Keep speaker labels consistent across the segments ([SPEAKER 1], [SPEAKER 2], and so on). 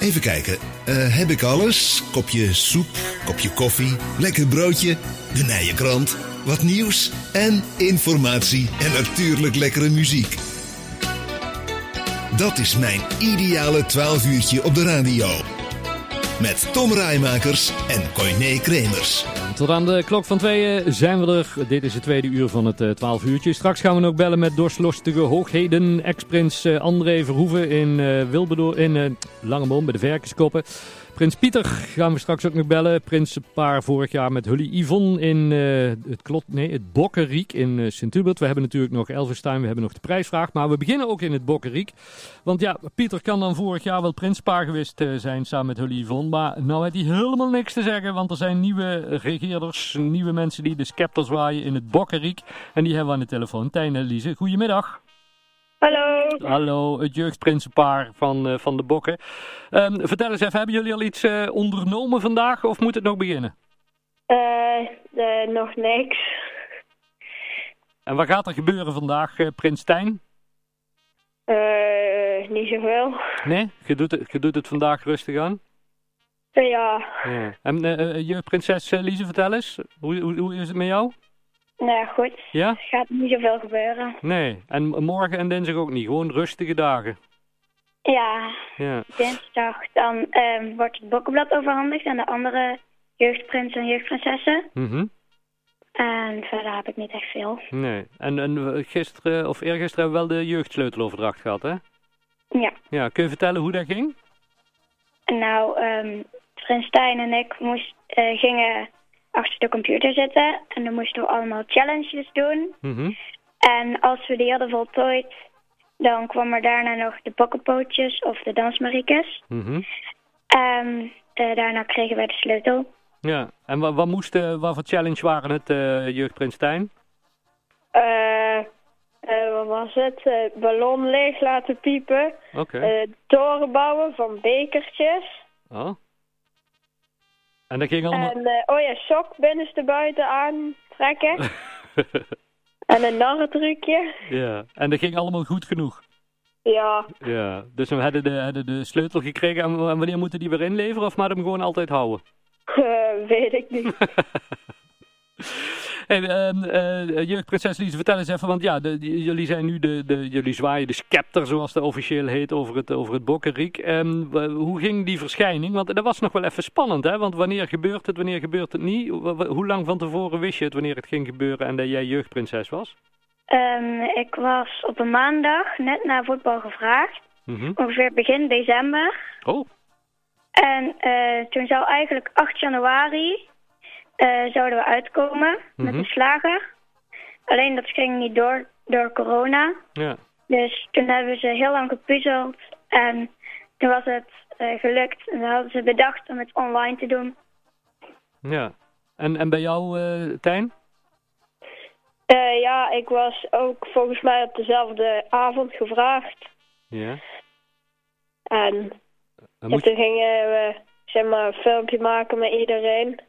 [SPEAKER 1] Even kijken. Eh, heb ik alles? Kopje soep, kopje koffie, lekker broodje, de Nijenkrant, wat nieuws en informatie en natuurlijk lekkere muziek. Dat is mijn ideale 12 uurtje op de radio. Met Tom Rijmakers en Coyne Kremers.
[SPEAKER 2] Tot aan de klok van tweeën zijn we er. Dit is het tweede uur van het eh, 12 uurtje. Straks gaan we nog bellen met doorslostige hoogheden. Ex-prins eh, André Verhoeven in, eh Wilbedoor, in eh, Langeboom bij de Verkenskoppen. Prins Pieter gaan we straks ook nog bellen. Prinsenpaar vorig jaar met Hully Yvonne in eh, het, klot, nee, het Bokkenriek in eh, Sint-Hubert. We hebben natuurlijk nog Elverstein, we hebben nog de prijsvraag. Maar we beginnen ook in het Bokkenriek. Want ja, Pieter kan dan vorig jaar wel prinspaar geweest eh, zijn samen met Hully Yvonne. Maar nou heeft hij helemaal niks te zeggen. Want er zijn nieuwe regeerders, nieuwe mensen die de scepter zwaaien in het Bokkenriek. En die hebben we aan de telefoon. Tijn en Lize, goedemiddag.
[SPEAKER 3] Hallo.
[SPEAKER 2] Hallo, het jeugdprinsenpaar van, eh, van de Bokken. Ehm, vertel eens even, hebben jullie al iets eh, ondernomen vandaag of moet het nog beginnen?
[SPEAKER 3] Eh, eh, nog niks.
[SPEAKER 2] En wat gaat er gebeuren vandaag, eh, Prins Tijn?
[SPEAKER 3] Eh, niet zoveel.
[SPEAKER 2] Nee, je doet, het, je doet het vandaag rustig aan.
[SPEAKER 3] Eh, ja,
[SPEAKER 2] En eh, eh, je prinses eh, Lize, vertel eens, hoe, hoe, hoe is het met jou?
[SPEAKER 3] nou ja, goed.
[SPEAKER 2] Ja?
[SPEAKER 3] Er gaat niet zoveel gebeuren.
[SPEAKER 2] Nee, en morgen en dinsdag ook niet, gewoon rustige dagen.
[SPEAKER 3] Ja,
[SPEAKER 2] Ja.
[SPEAKER 3] dinsdag dan ehm, wordt het bokkenblad overhandigd aan de andere jeugdprinsen en jeugdprinsessen.
[SPEAKER 2] Mhm.
[SPEAKER 3] En verder heb ik niet echt veel.
[SPEAKER 2] Nee, en, en eh, gisteren of eergisteren hebben we wel de jeugdsleuteloverdracht gehad, hè?
[SPEAKER 3] Ja,
[SPEAKER 2] Ja, kun je vertellen hoe dat ging?
[SPEAKER 3] en nou, ehm Prins Stijn en ik moest, eh, gingen achter de computer zitten. En dan moesten we allemaal challenges doen.
[SPEAKER 2] Mhm.
[SPEAKER 3] En als we die hadden voltooid, dan kwam er daarna nog de bokkenpootjes of de dansmariekes.
[SPEAKER 2] Mhm.
[SPEAKER 3] En eh, daarna kregen wij de sleutel.
[SPEAKER 2] Ja, en wat, wat, moest, eh, wat voor challenge waren het, eh Jeugdprins Stijn?
[SPEAKER 4] Eh, eh, wat was het? Eh, ballon leeg laten piepen.
[SPEAKER 2] Oké.
[SPEAKER 4] Eh, toren bouwen van bekertjes.
[SPEAKER 2] Oh. En dat ging allemaal...
[SPEAKER 4] En, eh, oh ja, sok binnenste buiten aantrekken. en een narretrucje.
[SPEAKER 2] ja, en dat ging allemaal goed genoeg.
[SPEAKER 4] Ja,
[SPEAKER 2] Ja, dus we hadden de, hadden de sleutel gekregen en, en wanneer moeten die weer inleveren of maar hem gewoon altijd houden?
[SPEAKER 4] eh, weet ik niet.
[SPEAKER 2] Hey, ehm, eh, jeugdprinses Lies, vertel eens even, want ja, de- die- jullie zijn nu de, de, jullie zwaaien de scepter, zoals dat officieel heet, over het, over het Bokkenriek. Ehm, wa- hoe ging die verschijning? Want dat was nog wel even spannend, hè? Want wanneer gebeurt het, wanneer gebeurt het niet? Wa- wa- Hoe lang van tevoren wist je het wanneer het ging gebeuren en dat jij jeugdprinses was?
[SPEAKER 3] Ehm, ik was op een maandag net na voetbal gevraagd,
[SPEAKER 2] Mhm.
[SPEAKER 3] ongeveer begin december.
[SPEAKER 2] Oh,
[SPEAKER 3] En eh, toen zou eigenlijk 8 januari eh, zouden we uitkomen met
[SPEAKER 2] Mhm.
[SPEAKER 3] de slager. Alleen dat ging niet door, door corona.
[SPEAKER 2] ja.
[SPEAKER 3] Dus toen hebben ze heel lang gepuzzeld en toen was het eh, gelukt. En toen hadden ze bedacht om het online te doen.
[SPEAKER 2] Ja. En, en bij jou, eh, Tijn?
[SPEAKER 4] Eh, ja, ik was ook volgens mij op dezelfde avond gevraagd.
[SPEAKER 2] Ja.
[SPEAKER 4] En
[SPEAKER 2] Dan
[SPEAKER 4] ja,
[SPEAKER 2] moet je...
[SPEAKER 4] toen gingen we zeg maar, een filmpje maken met iedereen.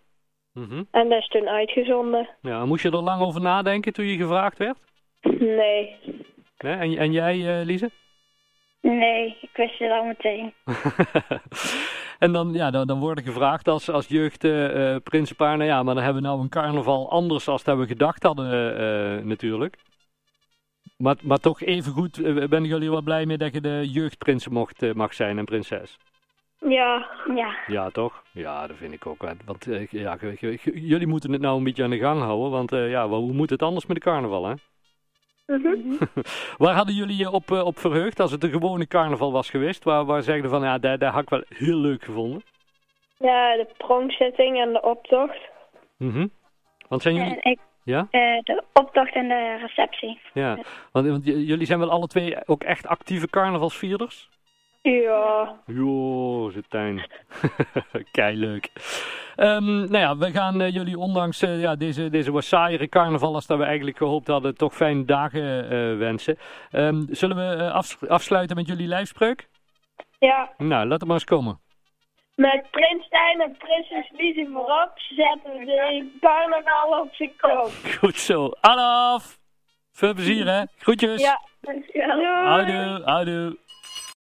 [SPEAKER 2] Mhm.
[SPEAKER 4] En dat is toen uitgezonden.
[SPEAKER 2] ja, en moest je er lang over nadenken toen je gevraagd werd?
[SPEAKER 4] Nee.
[SPEAKER 2] Nee? En, en jij, eh, Lize?
[SPEAKER 3] Nee, ik wist het al meteen.
[SPEAKER 2] en dan, ja, dan, dan word ik gevraagd als, als jeugd eh, eh, prinsenpaar, nou ja, maar dan hebben we nou een carnaval anders dan dat we gedacht hadden eh, eh, natuurlijk. Maar, maar toch even goed, eh, ben jullie wel blij mee dat je de jeugdprins mocht, eh, mag zijn en prinses?
[SPEAKER 4] Ja,
[SPEAKER 3] Ja.
[SPEAKER 2] Ja, toch? Ja, dat vind ik ook. wel. Want eh, ja, je- je- je- jullie moeten het nou een beetje aan de gang houden, want eh, ja, wel, hoe moet het anders met de carnaval, hè?
[SPEAKER 4] Mhm.
[SPEAKER 2] Mhm. Waar hadden jullie je op, eh, op verheugd als het een gewone carnaval was geweest? Waar, waar zeg je van, ja, dat, dat had ik wel heel leuk gevonden.
[SPEAKER 4] Ja, de pronkzitting en de optocht.
[SPEAKER 2] Mhm. Want zijn jullie...
[SPEAKER 3] En ik,
[SPEAKER 2] Ja?
[SPEAKER 3] eh, de optocht en de receptie.
[SPEAKER 2] Ja, want, want j- jullie zijn wel alle twee ook echt actieve carnavalsvierders?
[SPEAKER 4] Ja,
[SPEAKER 2] Jo, Zetijn. Kei leuk. Ehm, nou ja, we gaan eh, jullie ondanks eh, ja, deze, deze wat saaiere carnaval als dat we eigenlijk gehoopt hadden, toch fijne dagen eh, wensen. Ehm, zullen we eh, afs- afsluiten met jullie lijfspreuk?
[SPEAKER 4] ja.
[SPEAKER 2] Nou, laat het maar eens komen.
[SPEAKER 4] Met Prins Stijn en Prinses Lizzie voorop zetten ze carnaval op zijn kop.
[SPEAKER 2] Goed zo. Alaf! Veel plezier, hè? Groetjes.
[SPEAKER 4] Ja.
[SPEAKER 2] Houdoe, houdoe.